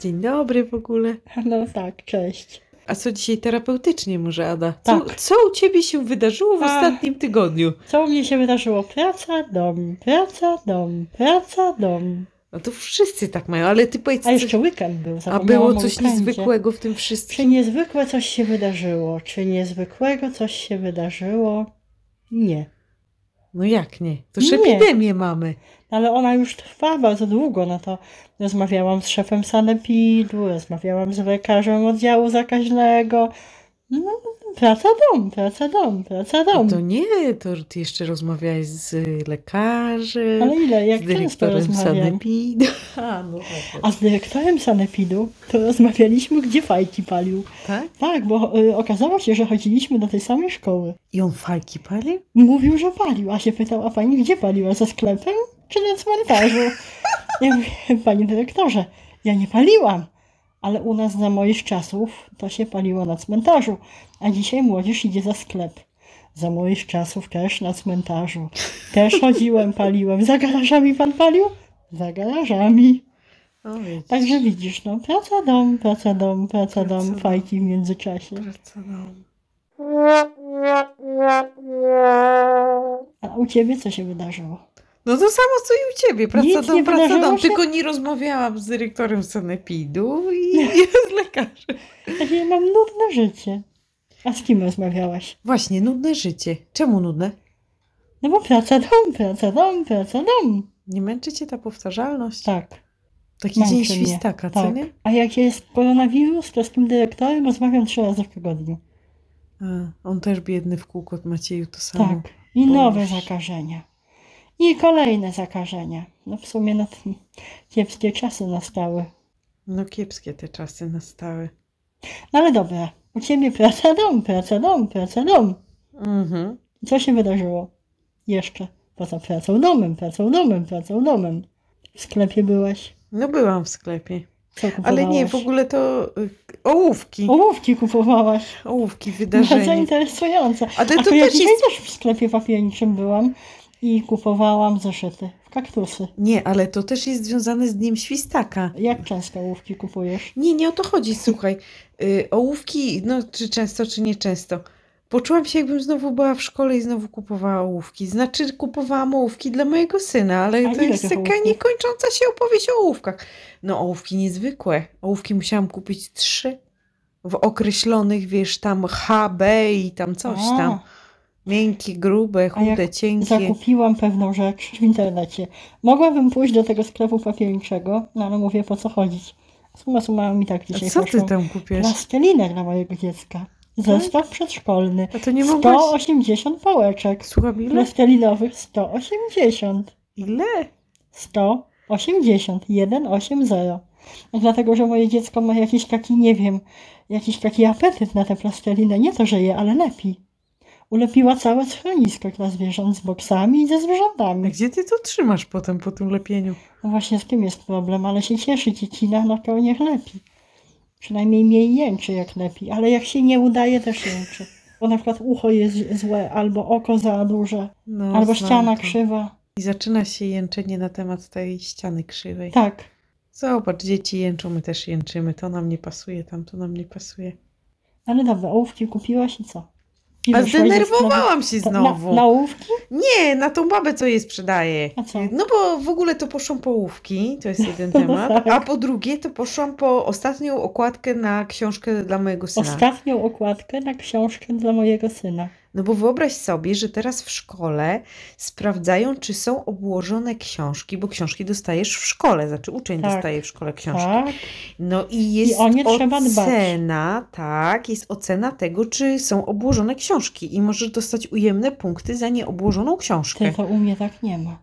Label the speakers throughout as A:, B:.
A: Dzień dobry w ogóle.
B: No tak, cześć.
A: A co dzisiaj terapeutycznie może, Ada? Co,
B: Tak.
A: co u Ciebie się wydarzyło w
B: A.
A: ostatnim tygodniu?
B: Co u mnie się wydarzyło? Praca, dom, praca, dom, praca, dom.
A: No to wszyscy tak mają, ale Ty powiedz,
B: A
A: co-
B: jeszcze weekend był.
A: a
B: zapomniałam
A: było
B: o
A: coś
B: weekendzie.
A: niezwykłego w tym
B: Czy
A: wszystkim?
B: niezwykłe coś się wydarzyło? Czy niezwykłego coś się wydarzyło? Nie.
A: No jak nie? To już
B: Nie.
A: epidemię mamy.
B: No Ale ona już trwa bardzo długo, no to rozmawiałam z szefem sanepidu, rozmawiałam z lekarzem oddziału zakaźnego. No, praca dom, praca dom, praca
A: No
B: dom.
A: to nie, to Ty jeszcze rozmawiałeś z y, lekarzem,
B: Ale ile, jak
A: z
B: często
A: dyrektorem
B: rozmawiam.
A: sanepidu. A, no,
B: A z dyrektorem sanepidu to rozmawialiśmy, gdzie fajki palił.
A: tak?
B: Tak, bo y, okazało się, że chodziliśmy do tej samej szkoły.
A: I on fajki palił?
B: Mówił, że palił, a się pytał, a pani gdzie paliła? Za sklepem czy na cmentarzu? Ja mówię, panie dyrektorze, ja nie paliłam, ale u nas za moich czasów to się paliło na cmentarzu, a dzisiaj młodzież idzie za sklep. Za moich czasów też na cmentarzu. Też chodziłem, paliłem. Za garażami pan palił? Za garażami.
A: O, widzisz.
B: Także widzisz, no, praca dom, praca dom, praca
A: Praca
B: dom,
A: dom.
B: fajki w międzyczasie.
A: Pracowałam.
B: A u ciebie co się wydarzyło?
A: No to samo co i u ciebie,
B: Nic nie
A: pracodom,
B: wydarzyło
A: pracodom,
B: się?
A: tylko nie rozmawiałam z dyrektorem sanepidu i i z lekarzem.
B: Takie ja mam nudne życie. A z kim rozmawiałaś?
A: Właśnie, nudne życie. Czemu nudne?
B: No bo praca dom, praca dom, praca dom.
A: Nie męczy cię ta powtarzalność?
B: Tak,
A: Taki
B: męczy
A: dzień
B: mnie.
A: świstaka, co
B: tak.
A: nie?
B: A jak jest koronawirus, to z tym dyrektorem rozmawiam trzy razy w tygodniu.
A: A, on też biedny w kółko od Macieju to samo.
B: Tak. I nowe
A: Boże.
B: zakażenia. I kolejne zakażenia. No w sumie no, kiepskie czasy nastały.
A: No kiepskie te czasy nastały.
B: No ale dobra, u ciebie praca dom, praca dom, praca dom.
A: Mhm.
B: Co się wydarzyło? Jeszcze poza pracą domem, pracą domem, pracą domem. W sklepie byłaś?
A: No byłam w sklepie.
B: Co kupowałaś?
A: Ale nie, w ogóle to y, ołówki.
B: Ołówki kupowałaś.
A: Ołówki,
B: No,
A: wydarzenie.
B: zainteresujące.
A: Ale
B: A
A: to
B: to ja
A: też
B: dzisiaj
A: jest...
B: też w sklepie papierniczym byłam i kupowałam zeszyty w kaktusy.
A: Nie, ale to też jest związane z Dniem Świstaka.
B: Jak często ołówki kupujesz?
A: Nie, nie o to chodzi, słuchaj. Y, ołówki, no czy często, czy nieczęsto. Poczułam się, jakbym znowu była w szkole i znowu kupowała ołówki. Znaczy, kupowałam ołówki dla mojego syna, ale
B: A
A: to
B: ile
A: jest
B: tych
A: taka
B: ołówków?
A: niekończąca się opowieść o ołówkach. No, ołówki niezwykłe. Ołówki musiałam kupić trzy w określonych, wiesz, tam HB i tam coś
B: A,
A: tam. Miękkie, grube, chude, cienkie.
B: Zakupiłam pewną rzecz w internecie. Mogłabym pójść do tego sklepu papierniczego, no ale mówię po co chodzić. Suma summarum i tak
A: A
B: dzisiaj
A: co
B: poszłam.
A: ty tam kupiłeś?
B: plastelinę dla mojego dziecka. Zestaw przedszkolny.
A: A to Tak? nie mogłaś...
B: 180 pałeczek.
A: Słucham, ile?
B: Plastelinowych 180.
A: Ile?
B: 180. 180. Dlatego, że moje dziecko ma jakiś taki, nie wiem, jakiś taki apetyt na tę plastelinę. Nie to, że je, ale lepi. Ulepiła całe schronisko dla zwierząt z boksami i ze
A: A
B: zwierzętami.
A: gdzie ty to trzymasz potem po tym lepieniu?
B: No właśnie z tym jest problem, ale się cieszy dziecina, no to niech lepi. Przynajmniej mniej jęczy jak lepi, ale jak się nie udaje też jęczy. Bo na przykład ucho jest złe, albo oko za duże,
A: No,
B: albo
A: znam
B: ściana
A: to.
B: krzywa.
A: I zaczyna się jęczenie na temat tej ściany krzywej.
B: Tak.
A: Zobacz, dzieci jęczą, my też jęczymy. To nam nie pasuje, tam to nam nie pasuje.
B: Ale dobra, ołówki kupiłaś i co? I
A: A
B: wyszłaś ze
A: zdenerwowałam się
B: sklepu. Na,
A: znowu.
B: na ołówki?
A: Nie, na tą babę, co jej sprzedaje.
B: A co?
A: No bo w ogóle to poszłam po łówki, to jest
B: No
A: jeden
B: tak.
A: temat. A po drugie, to poszłam po ostatnią okładkę na książkę dla mojego syna.
B: Ostatnią okładkę na książkę dla mojego syna.
A: No bo wyobraź sobie, że teraz w szkole sprawdzają, czy są obłożone książki, bo książki dostajesz w szkole, znaczy uczeń
B: Tak.
A: dostaje w szkole książki.
B: Tak.
A: No i jest
B: o nie trzeba dbać.
A: ocena, tak, jest ocena tego, czy są obłożone książki i możesz dostać ujemne punkty za nieobłożoną książkę.
B: Tylko u mnie tak nie ma.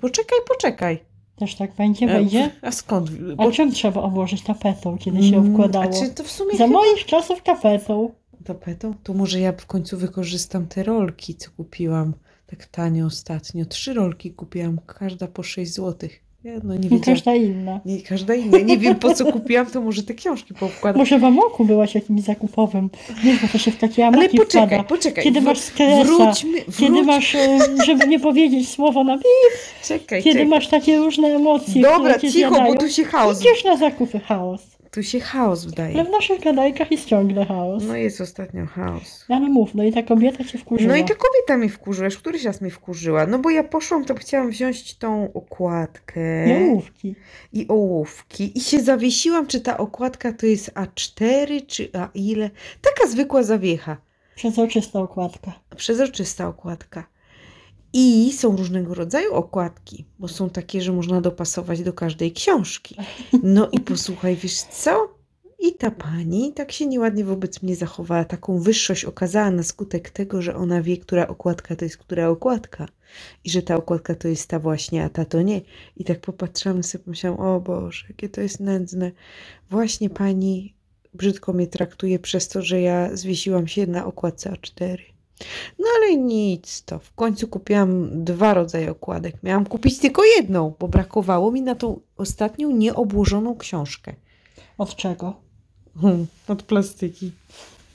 A: Poczekaj, poczekaj.
B: Też tak będzie, będzie.
A: A skąd?
B: A
A: E, Bo- Mm,
B: czym trzeba obłożyć tapetą, kiedy się obkładało?
A: A czy to w sumie
B: Za
A: chyba
B: moich czasów tapetą.
A: tapetą? To może ja w końcu wykorzystam te rolki, co kupiłam tak tanio ostatnio. Trzy rolki kupiłam, każda po 6 złotych. Ja, no nie
B: I
A: wiedziałam.
B: każda inna.
A: Nie, każda inna. Nie wiem po co kupiłam, to może te książki poukładam.
B: Może w Amoku byłaś jakimś zakupowym. Wiesz, bo to się w takie
A: Ale
B: Amoki
A: poczekaj,
B: wpada.
A: poczekaj.
B: Kiedy
A: Wr-
B: masz stresa,
A: Wróćmy, wróć,
B: Kiedy masz, e, żeby nie powiedzieć słowo na bip,
A: czekaj,
B: kiedy
A: czekaj.
B: masz takie różne emocje,
A: Dobra,
B: które cię
A: cicho,
B: zjadają,
A: bo tu się chaos,
B: idziesz na zakupy chaos.
A: tu się chaos
B: Ale
A: wydaje.
B: w naszych gadajkach jest ciągle chaos.
A: No jest ostatnio chaos.
B: Ale mów, no i ta kobieta cię wkurzyła.
A: No i ta kobieta mnie wkurzyła, już któryś raz mnie wkurzyła. No bo ja poszłam, to chciałam wziąć tą okładkę
B: Jałówki.
A: i ołówki i się zawiesiłam, czy ta okładka to jest A4, czy A ile. Taka zwykła zawiecha,
B: Przezroczysta okładka.
A: przezroczysta okładka. I są różnego rodzaju okładki, bo są takie, że można dopasować do każdej książki. No i posłuchaj, wiesz co? I ta pani tak się nieładnie wobec mnie zachowała, taką wyższość okazała na skutek tego, że ona wie, która okładka to jest która okładka. I że ta okładka to jest ta właśnie, a ta to nie. I tak popatrzyłam sobie, pomyślałam, o Boże, jakie to jest nędzne. Właśnie pani brzydko mnie traktuje przez to, że ja zwiesiłam się na okładce A4. No ale nic to. W końcu kupiłam dwa rodzaje okładek. Miałam kupić tylko jedną, bo brakowało mi na tą ostatnią nieobłożoną książkę.
B: Od czego?
A: Hmm, od plastyki.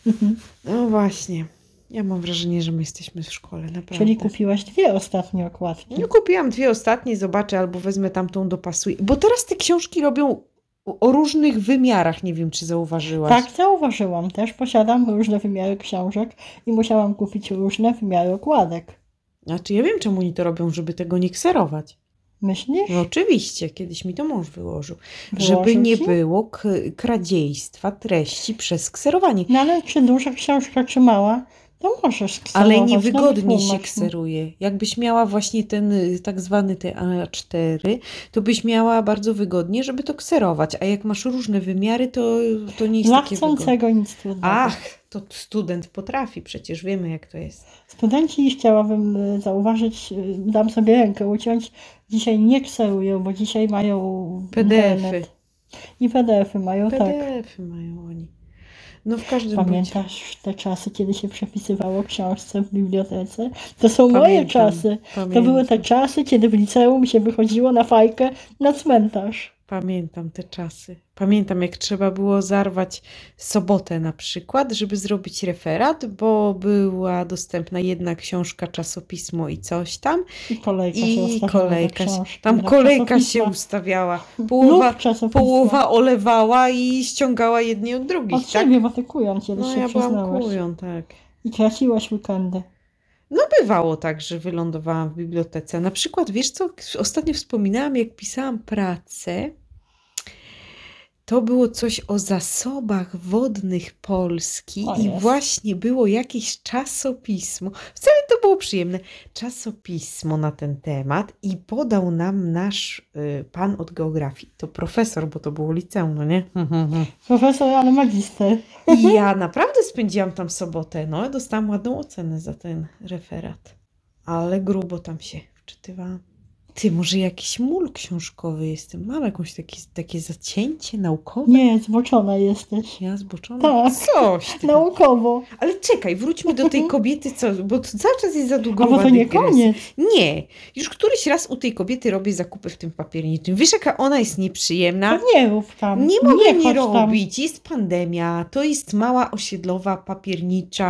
B: Mhm.
A: No właśnie. Ja mam wrażenie, że my jesteśmy w szkole, naprawdę.
B: Czyli kupiłaś dwie ostatnie okładki.
A: Tak. No kupiłam dwie ostatnie, zobaczę, albo wezmę tamtą, dopasuję. Bo teraz te książki robią o o różnych wymiarach, nie wiem, czy zauważyłaś.
B: Tak, zauważyłam. Też posiadam różne wymiary książek i musiałam kupić różne wymiary okładek.
A: Znaczy, ja wiem, czemu oni to robią, żeby tego nie kserować.
B: Myślisz?
A: No oczywiście, kiedyś mi to mąż wyłożył. żeby
B: Wyłożył
A: nie
B: ci?
A: było k- kradziejstwa treści przez kserowanie.
B: No ale czy duża książka, czy mała, to możesz kserować.
A: Ale
B: no
A: niewygodnie się
B: wytłumacz mi.
A: kseruje. Jakbyś miała właśnie ten y, tak zwany te A4, to byś miała bardzo wygodnie, żeby to kserować. A jak masz różne wymiary, to, to nie jest
B: Dla
A: takie wygodne.
B: chcącego nic trudnego.
A: Ach, to student potrafi, przecież wiemy jak to jest.
B: Studenci chciałabym y, zauważyć, y, dam sobie rękę uciąć, dzisiaj nie kserują, bo dzisiaj mają
A: PDF-y.
B: internet. I PDF-y mają, tak.
A: PDF-y mają oni. No w każdym razie.
B: Pamiętasz te czasy, kiedy się przepisywało książce w bibliotece? To są moje czasy. To były te czasy, kiedy w liceum się wychodziło na fajkę na cmentarz.
A: Pamiętam te czasy. Pamiętam, jak trzeba było zarwać sobotę na przykład, żeby zrobić referat, bo była dostępna jedna książka, czasopismo i coś tam.
B: I kolejka się
A: I
B: ustawiała
A: kolejka
B: do
A: się,
B: książki, No,
A: tam
B: do
A: kolejka się
B: czasopisma.
A: ustawiała. Połowa,
B: Lub czasopisma.
A: połowa olewała i ściągała jedni od drugich,
B: Od
A: tak?
B: ciebie, bo ty kują cię,
A: No
B: się
A: ja byłam
B: przyznałaś.
A: kują, tak.
B: I traciłaś weekendy.
A: No bywało tak, że wylądowałam w bibliotece. Na przykład, wiesz co, ostatnio wspominałam, jak pisałam pracę, to było coś o zasobach wodnych Polski
B: O
A: i
B: jest.
A: właśnie było jakieś czasopismo. Wcale to było przyjemne. Czasopismo na ten temat i podał nam nasz y, pan od geografii. To profesor, bo to było liceum, no nie?
B: Profesor, ale magister. Mhm.
A: I ja naprawdę spędziłam tam sobotę, no dostałam ładną ocenę za ten referat. Ale grubo tam się wczytywałam. Ty, może jakiś mul książkowy jestem? Mam jakąś taki, takie zacięcie naukowe?
B: Nie, zboczona jesteś.
A: Ja zboczona?
B: Tak.
A: Coś ty.
B: Naukowo.
A: Ale czekaj, wróćmy do tej kobiety, co, bo to cały czas jest za długo.
B: A bo to nie koniec.
A: Nie, już któryś raz u tej kobiety robię zakupy w tym papierniczym. Wiesz, jaka ona jest nieprzyjemna?
B: To nie rób tam.
A: Nie mogę nie,
B: chodź tam.
A: robić. Jest pandemia, to jest mała osiedlowa papiernicza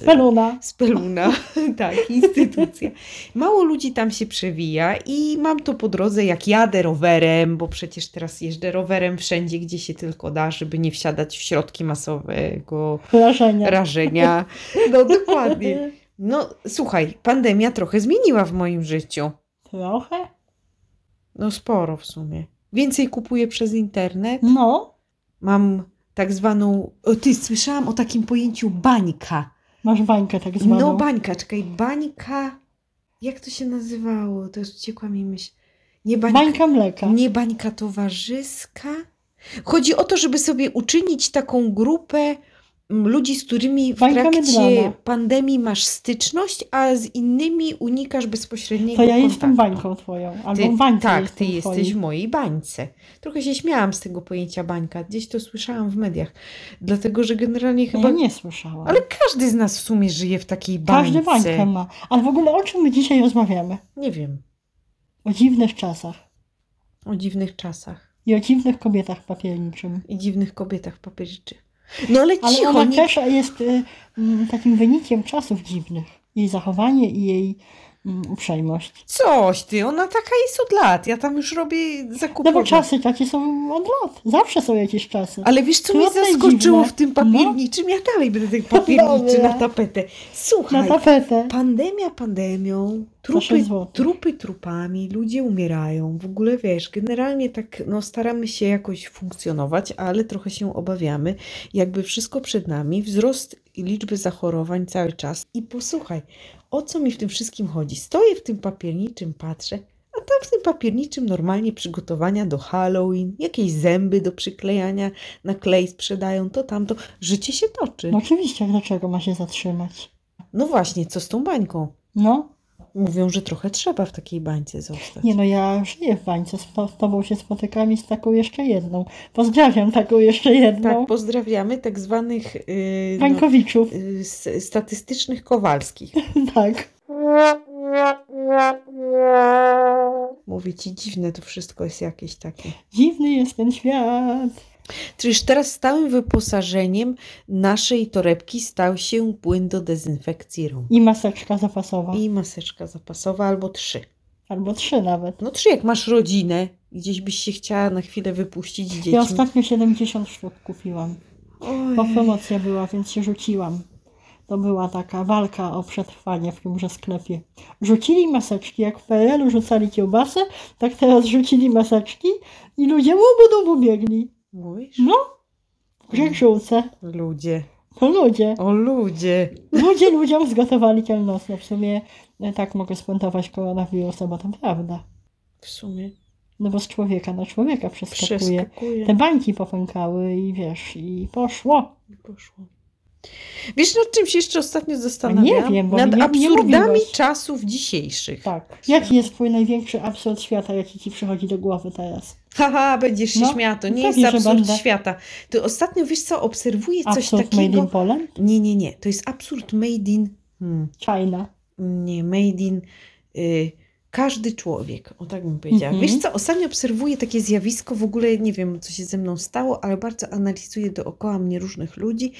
A: e,
B: Peluna.
A: speluna, tak, instytucja. Mało ludzi tam się przewija i mam to po drodze, jak jadę rowerem, bo przecież teraz jeżdżę rowerem wszędzie, gdzie się tylko da, żeby nie wsiadać w środki masowego
B: Wrażenia.
A: rażenia. No dokładnie. No słuchaj, pandemia trochę zmieniła w moim życiu.
B: Trochę?
A: No sporo w sumie. Więcej kupuję przez internet.
B: No.
A: mam tak zwaną. O, ty słyszałam o takim pojęciu bańka.
B: Masz bańkę tak zwaną.
A: No bańka, czekaj, bańka. Jak to się nazywało? To już uciekła mi myśl. Nie bańka,
B: Bańka mleka.
A: nie bańka towarzyska. Chodzi o to, żeby sobie uczynić taką grupę mm, ludzi, z którymi w
B: Bańka
A: trakcie
B: mydlana.
A: pandemii masz styczność, a z innymi unikasz bezpośredniego
B: To ja
A: kontaktu.
B: jestem bańką twoją. Albo
A: Ty,
B: bańką
A: tak, ty
B: jestem
A: jesteś w
B: twoim.
A: mojej bańce. Trochę się śmiałam z tego pojęcia bańka. Gdzieś to słyszałam w mediach. Dlatego, że generalnie chyba.
B: No Ja nie słyszałam.
A: Ale każdy z nas w sumie żyje w takiej bańce.
B: Każdy bańkę ma. Ale w ogóle o czym my dzisiaj rozmawiamy?
A: Nie wiem.
B: O dziwnych czasach.
A: o dziwnych czasach
B: I o dziwnych kobietach papierniczym.
A: i dziwnych kobietach papierniczych. No ale
B: Ale
A: cicho,
B: ona
A: nie...
B: też jest y, mm, takim wynikiem czasów dziwnych. Jej zachowanie i jej mm, uprzejmość.
A: Coś ty, ona taka jest od lat. Ja tam już robię zakupy.
B: No bo czasy takie są od lat. Zawsze są jakieś czasy.
A: Ale wiesz, co mnie
B: Trudne i
A: zaskoczyło
B: No dziwne. No.
A: w tym papierniczym? Ja dalej będę ten papierniczy
B: Dobra.
A: na tapetę.
B: Na
A: Słuchaj,
B: tapetę.
A: pandemia pandemią,
B: No Proszę
A: trupy,
B: złoty.
A: trupy trupami, ludzie umierają. W ogóle wiesz, generalnie tak no, staramy się jakoś funkcjonować, ale trochę się obawiamy. Jakby wszystko przed nami, wzrost liczby zachorowań cały czas. I posłuchaj, o co mi w tym wszystkim chodzi? Stoję w tym papierniczym, patrzę, a tam w tym papierniczym normalnie przygotowania do Halloween, jakieś zęby do przyklejania, na klej sprzedają, to tamto. Życie się toczy.
B: No oczywiście, dlaczego ma się zatrzymać?
A: No właśnie, co z tą bańką?
B: No,
A: Mówią, że trochę trzeba w takiej bańce zostać.
B: nie no, ja żyję w bańce, z to- z tobą się spotykam i z taką jeszcze jedną. Pozdrawiam taką jeszcze jedną.
A: Tak, pozdrawiamy tak zwanych yy, no,
B: Bańkowiczów,
A: yy, s- statystycznych kowalskich.
B: tak.
A: Mówię ci, dziwne to wszystko jest jakieś takie.
B: Dziwny jest ten świat.
A: Czyż teraz stałym wyposażeniem naszej torebki stał się płyn do dezynfekcji rąk.
B: I maseczka zapasowa.
A: I maseczka zapasowa albo trzy.
B: Albo trzy nawet.
A: No trzy, jak masz rodzinę, gdzieś byś się chciała na chwilę wypuścić dzieci.
B: Ja ostatnio 70 sztuk kupiłam. Bo
A: Ojej.
B: promocja była, więc się rzuciłam. To była taka walka o przetrwanie w tymże sklepie. Rzucili maseczki, jak w PRL-u rzucali kiełbasę, tak teraz rzucili maseczki i ludzie łobudą pobiegli.
A: Mówisz?
B: No, w grzegrzółce.
A: Ludzie.
B: To ludzie.
A: O ludzie.
B: Ludzie ludziom zgotowali kielnosno. W sumie e, tak mogę spuentować koronawirusa, bo to prawda.
A: W sumie
B: No bo z człowieka na człowieka przeskakuje.
A: przeskakuje.
B: Te bańki popękały i wiesz, i poszło.
A: I poszło. Wiesz, nad czym się jeszcze ostatnio zastanawiam?
B: nie wiem, bo
A: nad
B: mi nie- nie
A: absurdami
B: mówiłaś.
A: czasów dzisiejszych.
B: Tak. Jaki jest twój największy absurd świata, jaki ci przychodzi do głowy teraz?
A: Haha, będziesz się
B: No,
A: śmiała, to nie jest
B: pewnie, że
A: absurd
B: będę.
A: świata. Ty ostatnio, wiesz co, obserwuję coś
B: Absurd made in
A: takiego.
B: Poland?
A: Nie, nie, nie, to jest absurd made in... Hmm,
B: China.
A: nie, made in... Y, każdy człowiek, o tak bym powiedziała.
B: Mhm.
A: Wiesz co, ostatnio obserwuję takie zjawisko, w ogóle nie wiem, co się ze mną stało, ale bardzo analizuję dookoła mnie różnych ludzi,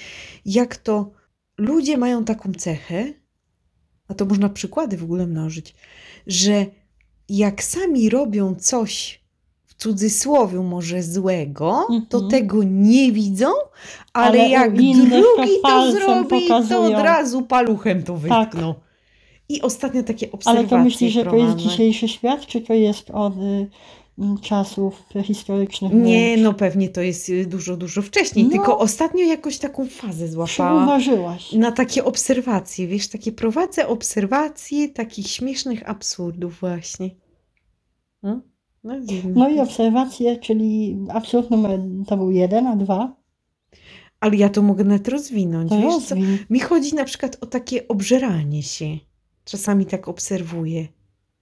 A: jak to ludzie mają taką cechę, a to można przykłady w ogóle mnożyć, że jak sami robią coś w cudzysłowie może złego, to
B: Mhm.
A: tego nie widzą, ale,
B: Ale u
A: jak
B: innych to
A: drugi to,
B: palcem
A: zrobi, to
B: pokazują.
A: od razu paluchem to
B: Tak.
A: wytkną. I ostatnio takie
B: Ale
A: obserwacje
B: to myślisz, że to jest
A: prowadzę.
B: dzisiejszy świat, czy to jest od y, m, czasów prehistorycznych?
A: Nie,
B: wręcz?
A: no pewnie to jest y, dużo, dużo wcześniej,
B: No.
A: tylko ostatnio jakoś taką fazę złapałam.
B: Przyuważyłaś.
A: na takie obserwacje, wiesz, takie prowadzę obserwacje takich śmiesznych absurdów właśnie. No, no, dziwne.
B: No i obserwacje, czyli absurd numer to był jeden, a dwa
A: Ale ja to mogę nawet rozwinąć,
B: to
A: wiesz co?
B: rozwin.
A: Mi chodzi na przykład o takie obżeranie się. Czasami tak obserwuję,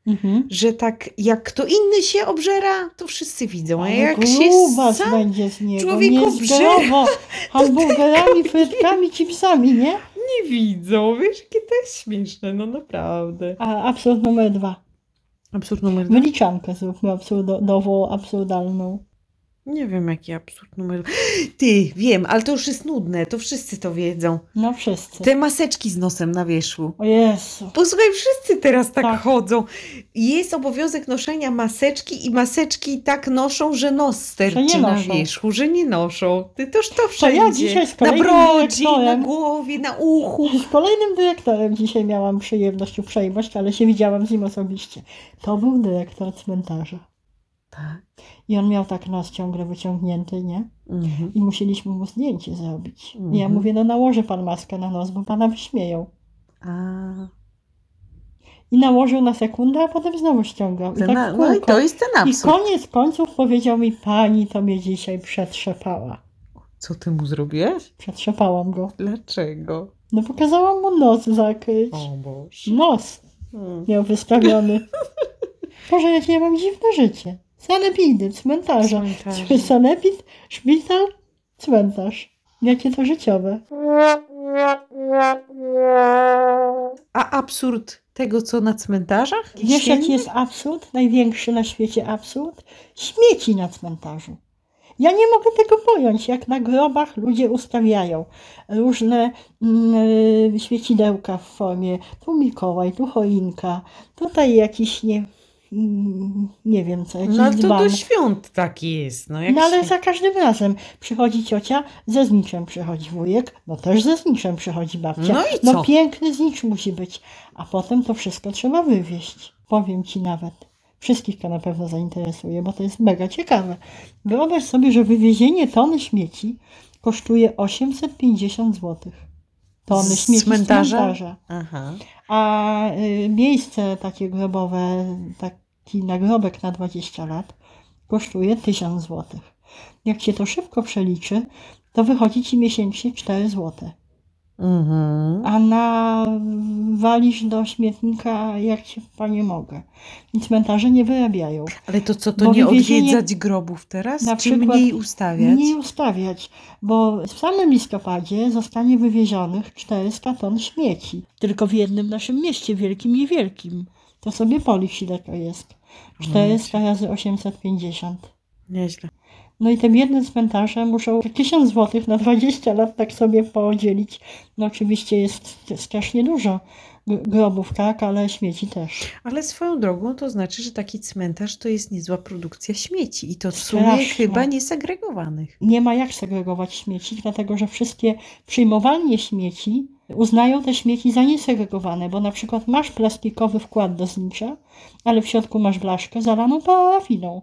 B: Mhm.
A: że tak jak kto inny się obżera, to wszyscy widzą, a
B: Ale
A: jak się
B: grubas
A: sam...
B: będzie z niego,
A: człowieku
B: niezdrowo, hamburgerami, frytkami, chipsami, nie?
A: nie widzą, wiesz, jakie to jest śmieszne, no naprawdę. No
B: A absurd numer dwa.
A: Absurd numer dwa.
B: Wyliczankę zróbmy absurdową, absurdalną.
A: Nie wiem, jaki absurd numer dwa. Ty, wiem, ale to już jest nudne, to wszyscy to wiedzą.
B: No wszyscy.
A: Te maseczki z nosem na wierzchu.
B: O Jezu.
A: Posłuchaj, wszyscy teraz tak,
B: Tak.
A: chodzą. Jest obowiązek noszenia maseczki i maseczki tak noszą, że nos sterczy
B: nie
A: na
B: noszą.
A: wierzchu, że nie noszą. Ty toż to wszędzie.
B: dzisiaj z
A: na
B: kolei
A: brodzi, na
B: dyrektorem-
A: głowie, na uchu.
B: Z kolejnym dyrektorem dzisiaj miałam przyjemność, uprzejmość, ale się widziałam z nim osobiście. To był dyrektor cmentarza.
A: Tak.
B: I on miał tak nos ciągle wyciągnięty, nie?
A: Mhm.
B: I musieliśmy mu zdjęcie zrobić. I ja
A: Mhm.
B: mówię, no nałoży pan maskę na nos, bo pana wyśmieją.
A: A,
B: I nałożył na sekundę, a potem znowu ściągał. I
A: ten,
B: tak w
A: no i
B: kółko.
A: to jest ten
B: I
A: absurd.
B: koniec końców powiedział mi, pani to mnie dzisiaj przetrzepała.
A: Co ty mu zrobiłeś?
B: Przetrzepałam go.
A: Dlaczego?
B: No pokazałam mu nos zakryć.
A: O Boże.
B: Nos
A: Mm.
B: miał wystawiony. Boże, jakie ja mam dziwne życie. Sanepidy, cmentarze.
A: Cmentarze.
B: Sanepid, szpital, cmentarz. Jakie to życiowe.
A: A absurd Tego, co na cmentarzach?
B: Wiesz, jaki
A: Śmieci?
B: jest absurd? Największy na świecie absurd? Śmieci na cmentarzu. Ja nie mogę tego pojąć, jak na grobach ludzie ustawiają różne mm, świecidełka w formie tu Mikołaj, tu choinka, tutaj jakiś nie, mm, nie wiem co, jakiś
A: No ale to
B: dzban.
A: do świąt taki jest. No, jak
B: No ale
A: się-
B: za każdym razem przychodzi ciocia, ze zniczem przychodzi wujek, no też ze zniczem przychodzi babcia.
A: No i co?
B: No piękny znicz musi być, a potem to wszystko trzeba wywieźć. Powiem ci nawet. Wszystkich to na pewno zainteresuje, bo to jest mega ciekawe. Wyobraź sobie, że wywiezienie tony śmieci kosztuje 850 zł. Tony
A: Z
B: śmieci z
A: cmentarza?
B: cmentarza.
A: Aha.
B: A y, miejsce takie grobowe, taki nagrobek na 20 lat kosztuje 1000 zł. Jak się to szybko przeliczy, to wychodzi ci miesięcznie 4 zł.
A: Mhm.
B: A na walisz do śmietnika jak się panie mogę. I cmentarze nie wyrabiają.
A: Ale to co, to
B: Bo
A: nie
B: wywiezienie-
A: odwiedzać grobów teraz?
B: Na
A: czy
B: przykład
A: mniej ustawiać?
B: Mniej ustawiać, bo w samym listopadzie zostanie wywiezionych 400 ton śmieci. Tylko w jednym naszym mieście, wielkim i wielkim. To sobie policz, ile to jest. 400 razy 850.
A: Nieźle.
B: No i tym jednym cmentarzem muszą 1000 zł na 20 lat tak sobie podzielić. No oczywiście jest strasznie dużo g- grobów, tak, ale śmieci też.
A: Ale swoją drogą to znaczy, że taki cmentarz to jest niezła produkcja śmieci i to w sumie
B: Strasznie.
A: chyba niesegregowanych.
B: nie ma jak segregować śmieci, dlatego że wszystkie przyjmowalnie śmieci uznają te śmieci za niesegregowane, bo na przykład masz plastikowy wkład do znicza, ale w środku masz blaszkę zalaną parafiną.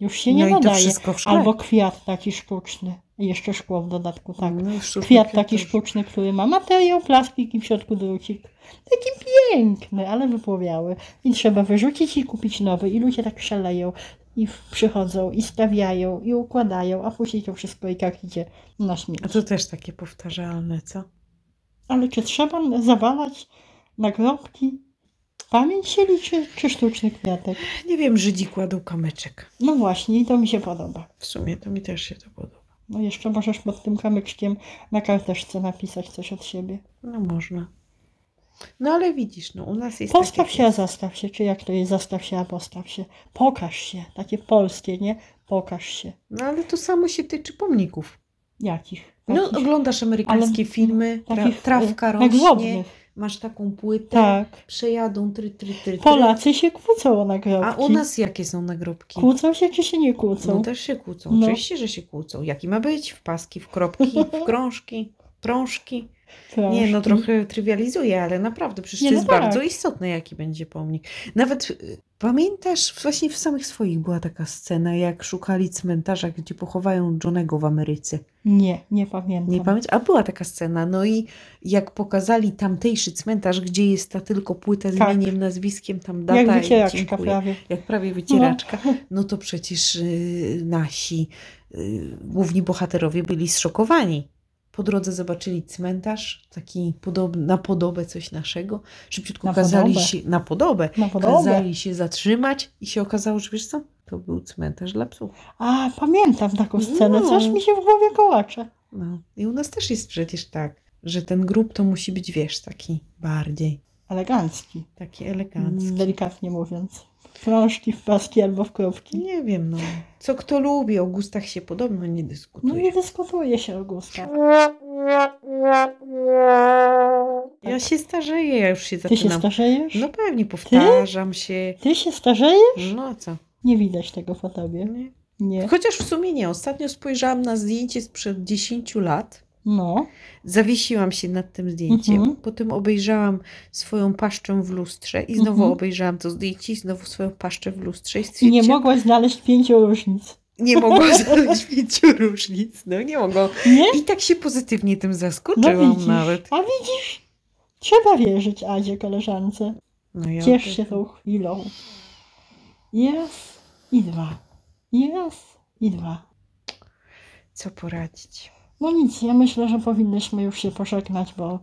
B: Już się nie
A: no i to
B: nadaje.
A: wszystko w szkle.
B: Albo kwiat taki sztuczny. Jeszcze szkło w dodatku, tak.
A: No, już szukam
B: Kwiat taki
A: kwiatarza.
B: sztuczny, który ma materiał, plastik i w środku drucik. Taki piękny, ale wypłowiały. I trzeba wyrzucić i kupić nowy. I ludzie tak szaleją. I w- przychodzą, i stawiają, i układają, a później to wszystko i tak idzie na
A: A
B: śmieci.
A: to też takie powtarzalne, co?
B: Ale czy trzeba n- zawalać nagrobki? Pamięć się liczy, czy sztuczny kwiatek?
A: Nie wiem, Żydzi kładą kamyczek.
B: No właśnie, i to mi się podoba.
A: W sumie to mi też się to podoba.
B: No jeszcze możesz pod tym kamyczkiem na karteczce napisać coś od siebie.
A: No można. No ale widzisz, no u nas jest
B: Postaw
A: takie-
B: się, a zastaw się. Czy jak to jest zastaw się, a postaw się? Pokaż się. Takie polskie, nie? Pokaż się.
A: No ale to samo się tyczy pomników.
B: Jakich?
A: No
B: Takich-
A: oglądasz amerykańskie filmy, tra
B: takich,
A: trawka
B: e,
A: rośnie,
B: nagrobnych.
A: masz taką płytę,
B: Tak.
A: przejadą try, try, try, try.
B: Polacy się kłócą o nagrobki.
A: A u nas jakie są nagrobki?
B: Kłócą się, czy się nie
A: No
B: kłócą?
A: też się kłócą.
B: No.
A: Oczywiście, że się kłócą. Jaki ma być? W paski, w kropki, w krążki, prążki.
B: Krążki.
A: Nie, no trochę trywializuję, ale naprawdę, przecież
B: Mhm. Nie,
A: to
B: no
A: jest
B: tak.
A: bardzo istotne, jaki będzie pomnik. Nawet y, pamiętasz, właśnie w samych swoich była taka scena, jak szukali cmentarza, gdzie pochowają Johnego w Ameryce.
B: Nie, nie pamiętam.
A: Nie pamiętam, a była taka scena. No i jak pokazali tamtejszy cmentarz, gdzie jest ta tylko płyta z
B: Tak.
A: imieniem, nazwiskiem, tam data
B: Jak
A: i
B: wycieraczka
A: dziękuję
B: prawie.
A: jak prawie wycieraczka, no, to przecież y, nasi y, główni bohaterowie byli zszokowani. Po drodze zobaczyli cmentarz, taki podob, na podobę coś naszego. Szybciutko
B: Na
A: kazali
B: podobę.
A: się na podobę.
B: Na podobę.
A: Kazali się zatrzymać i się okazało, że wiesz co, to był cmentarz dla psów.
B: A, pamiętam taką scenę.
A: No.
B: Coś mi się w głowie kołacze.
A: No. I u nas też jest przecież tak, że ten grób to musi być, wiesz, taki bardziej,
B: Elegancki.
A: taki elegancki.
B: Delikatnie mówiąc. Krążki w paski albo w kropki.
A: Nie wiem, no. Co kto lubi, o gustach się podobno nie dyskutuje.
B: No nie dyskutuje się o gustach.
A: Ja się starzeję, ja już się
B: Ty się
A: zaczynam.
B: starzejesz?
A: Tak no pewnie powtarzam się.
B: Ty się starzejesz?
A: No a co?
B: Nie widać tego po tobie.
A: Nie.
B: Nie.
A: Chociaż w sumie nie. Ostatnio spojrzałam na zdjęcie sprzed 10 lat.
B: No.
A: Zawiesiłam się nad tym zdjęciem.
B: Mhm.
A: Potem obejrzałam swoją paszczę w lustrze i znowu
B: Mhm.
A: obejrzałam to zdjęcie i znowu swoją paszczę w lustrze i
B: I nie
A: stwierdziłam,
B: mogłaś znaleźć pięciu różnic.
A: nie mogło zrobić pięciu różnic. No nie mogło.
B: Nie?
A: I tak się pozytywnie tym zaskoczyłam
B: No widzisz.
A: nawet.
B: A widzisz? Trzeba wierzyć Adzie, koleżance.
A: No ja
B: Ciesz się tą chwilą. Raz i dwa. Raz i dwa.
A: Co poradzić?
B: No nic, ja myślę, że powinnyśmy już się pożegnać, bo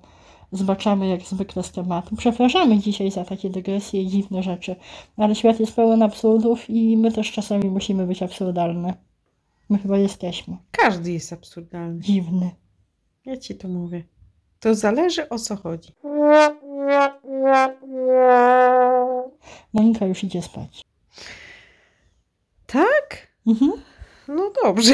B: zbaczamy jak zwykle z tematu. Przepraszamy dzisiaj za takie dygresje i dziwne rzeczy, ale świat jest pełen absurdów i my też czasami musimy być absurdalne. My chyba jesteśmy.
A: Każdy jest absurdalny.
B: Dziwny.
A: Ja ci to mówię. To zależy o co chodzi.
C: Yeah.
B: Monika już idzie spać.
A: Tak?
B: Mhm.
A: No dobrze.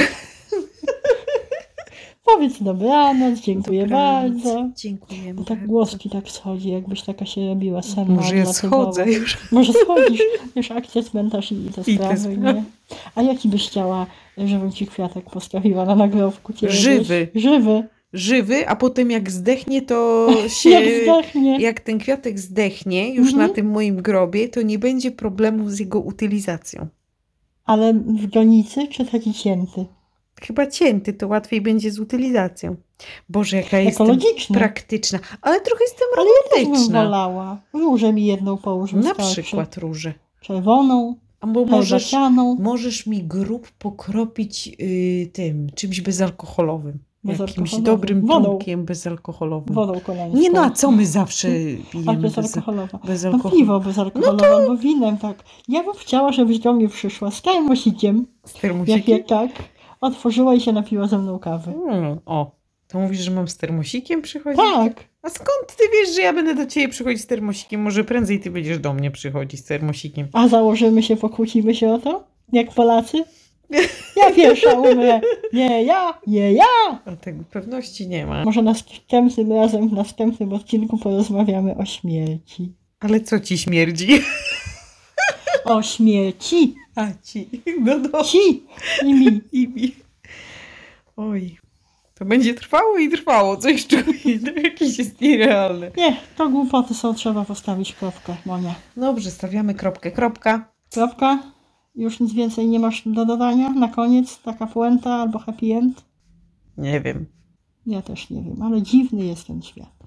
B: Powiedz dobranoc, dziękuję
A: Dobranoc.
B: bardzo.
A: Dziękujemy.
B: Bo tak głos ci tak schodzi, jakbyś taka się robiła senna.
A: Może ja
B: odlatywała.
A: schodzę już.
B: Może schodzisz, wiesz, akcja cmentarz i te
A: te
B: sprawy,
A: sprawy.
B: nie? A jaki byś chciała, żebym ci kwiatek postawiła na nagrobku? Kiedy
A: Żywy.
B: byś- Żywy,
A: Żywy, a potem jak zdechnie, to się...
B: jak zdechnie.
A: jak ten kwiatek zdechnie już
B: Mhm.
A: na tym moim grobie, to nie będzie problemu z jego utylizacją.
B: Ale w granicy czy taki cięty?
A: Chyba cięty to łatwiej będzie z utylizacją. Boże, jaka jestem
B: Ekologiczny.
A: praktyczna, ale trochę jestem
B: Ale Też bym
A: romantyczna.
B: wolała. Róże mi jedną połóż.
A: na
B: wystarczy.
A: przykład róże.
B: Czerwoną,
A: Albo możesz,
B: herbacianą.
A: możesz mi grób pokropić y, tym czymś bezalkoholowym. Jakimś
B: Bezalkoholowym.
A: dobrym
B: Wodą.
A: trunkiem bezalkoholowym.
B: Wodą koleńską.
A: Nie no, a co my zawsze
B: Ale
A: pijemy bez,
B: bezalkoholowa. No
A: bezalkoholowe?
B: piwo bezalkoholowe, albo winem, tak. Ja bym chciała, żebyś do mnie przyszła z termosikiem,
A: Z
B: jak
A: termosiki?
B: ja tak, otworzyła i się napiła ze mną kawy.
A: Mm, o, to mówisz, że mam z termosikiem przychodzić?
B: Tak,
A: A skąd ty wiesz, że ja będę do ciebie przychodzić z termosikiem? Może prędzej ty będziesz do mnie przychodzić z termosikiem.
B: a założymy się, pokłócimy się o to? Jak Polacy? Ja pierwsza umrę. Nie ja, nie ja.
A: A tego pewności nie ma.
B: Może następnym razem, w następnym odcinku porozmawiamy o śmierci.
A: Ale co ci śmierdzi?
B: O śmierci!
A: A ci. No do
B: Ci! I mi.
A: i mi. Oj. To będzie trwało i trwało. Coś czuję. To jakieś jest nierealne.
B: Nie, to głupoty są, trzeba postawić kropkę, Monia.
A: Dobrze, stawiamy kropkę. Kropka.
B: Kropka. Już nic więcej nie masz do dodania? Na koniec taka puenta albo happy end?
A: Nie wiem.
B: Ja też nie wiem, ale dziwny jest ten świat.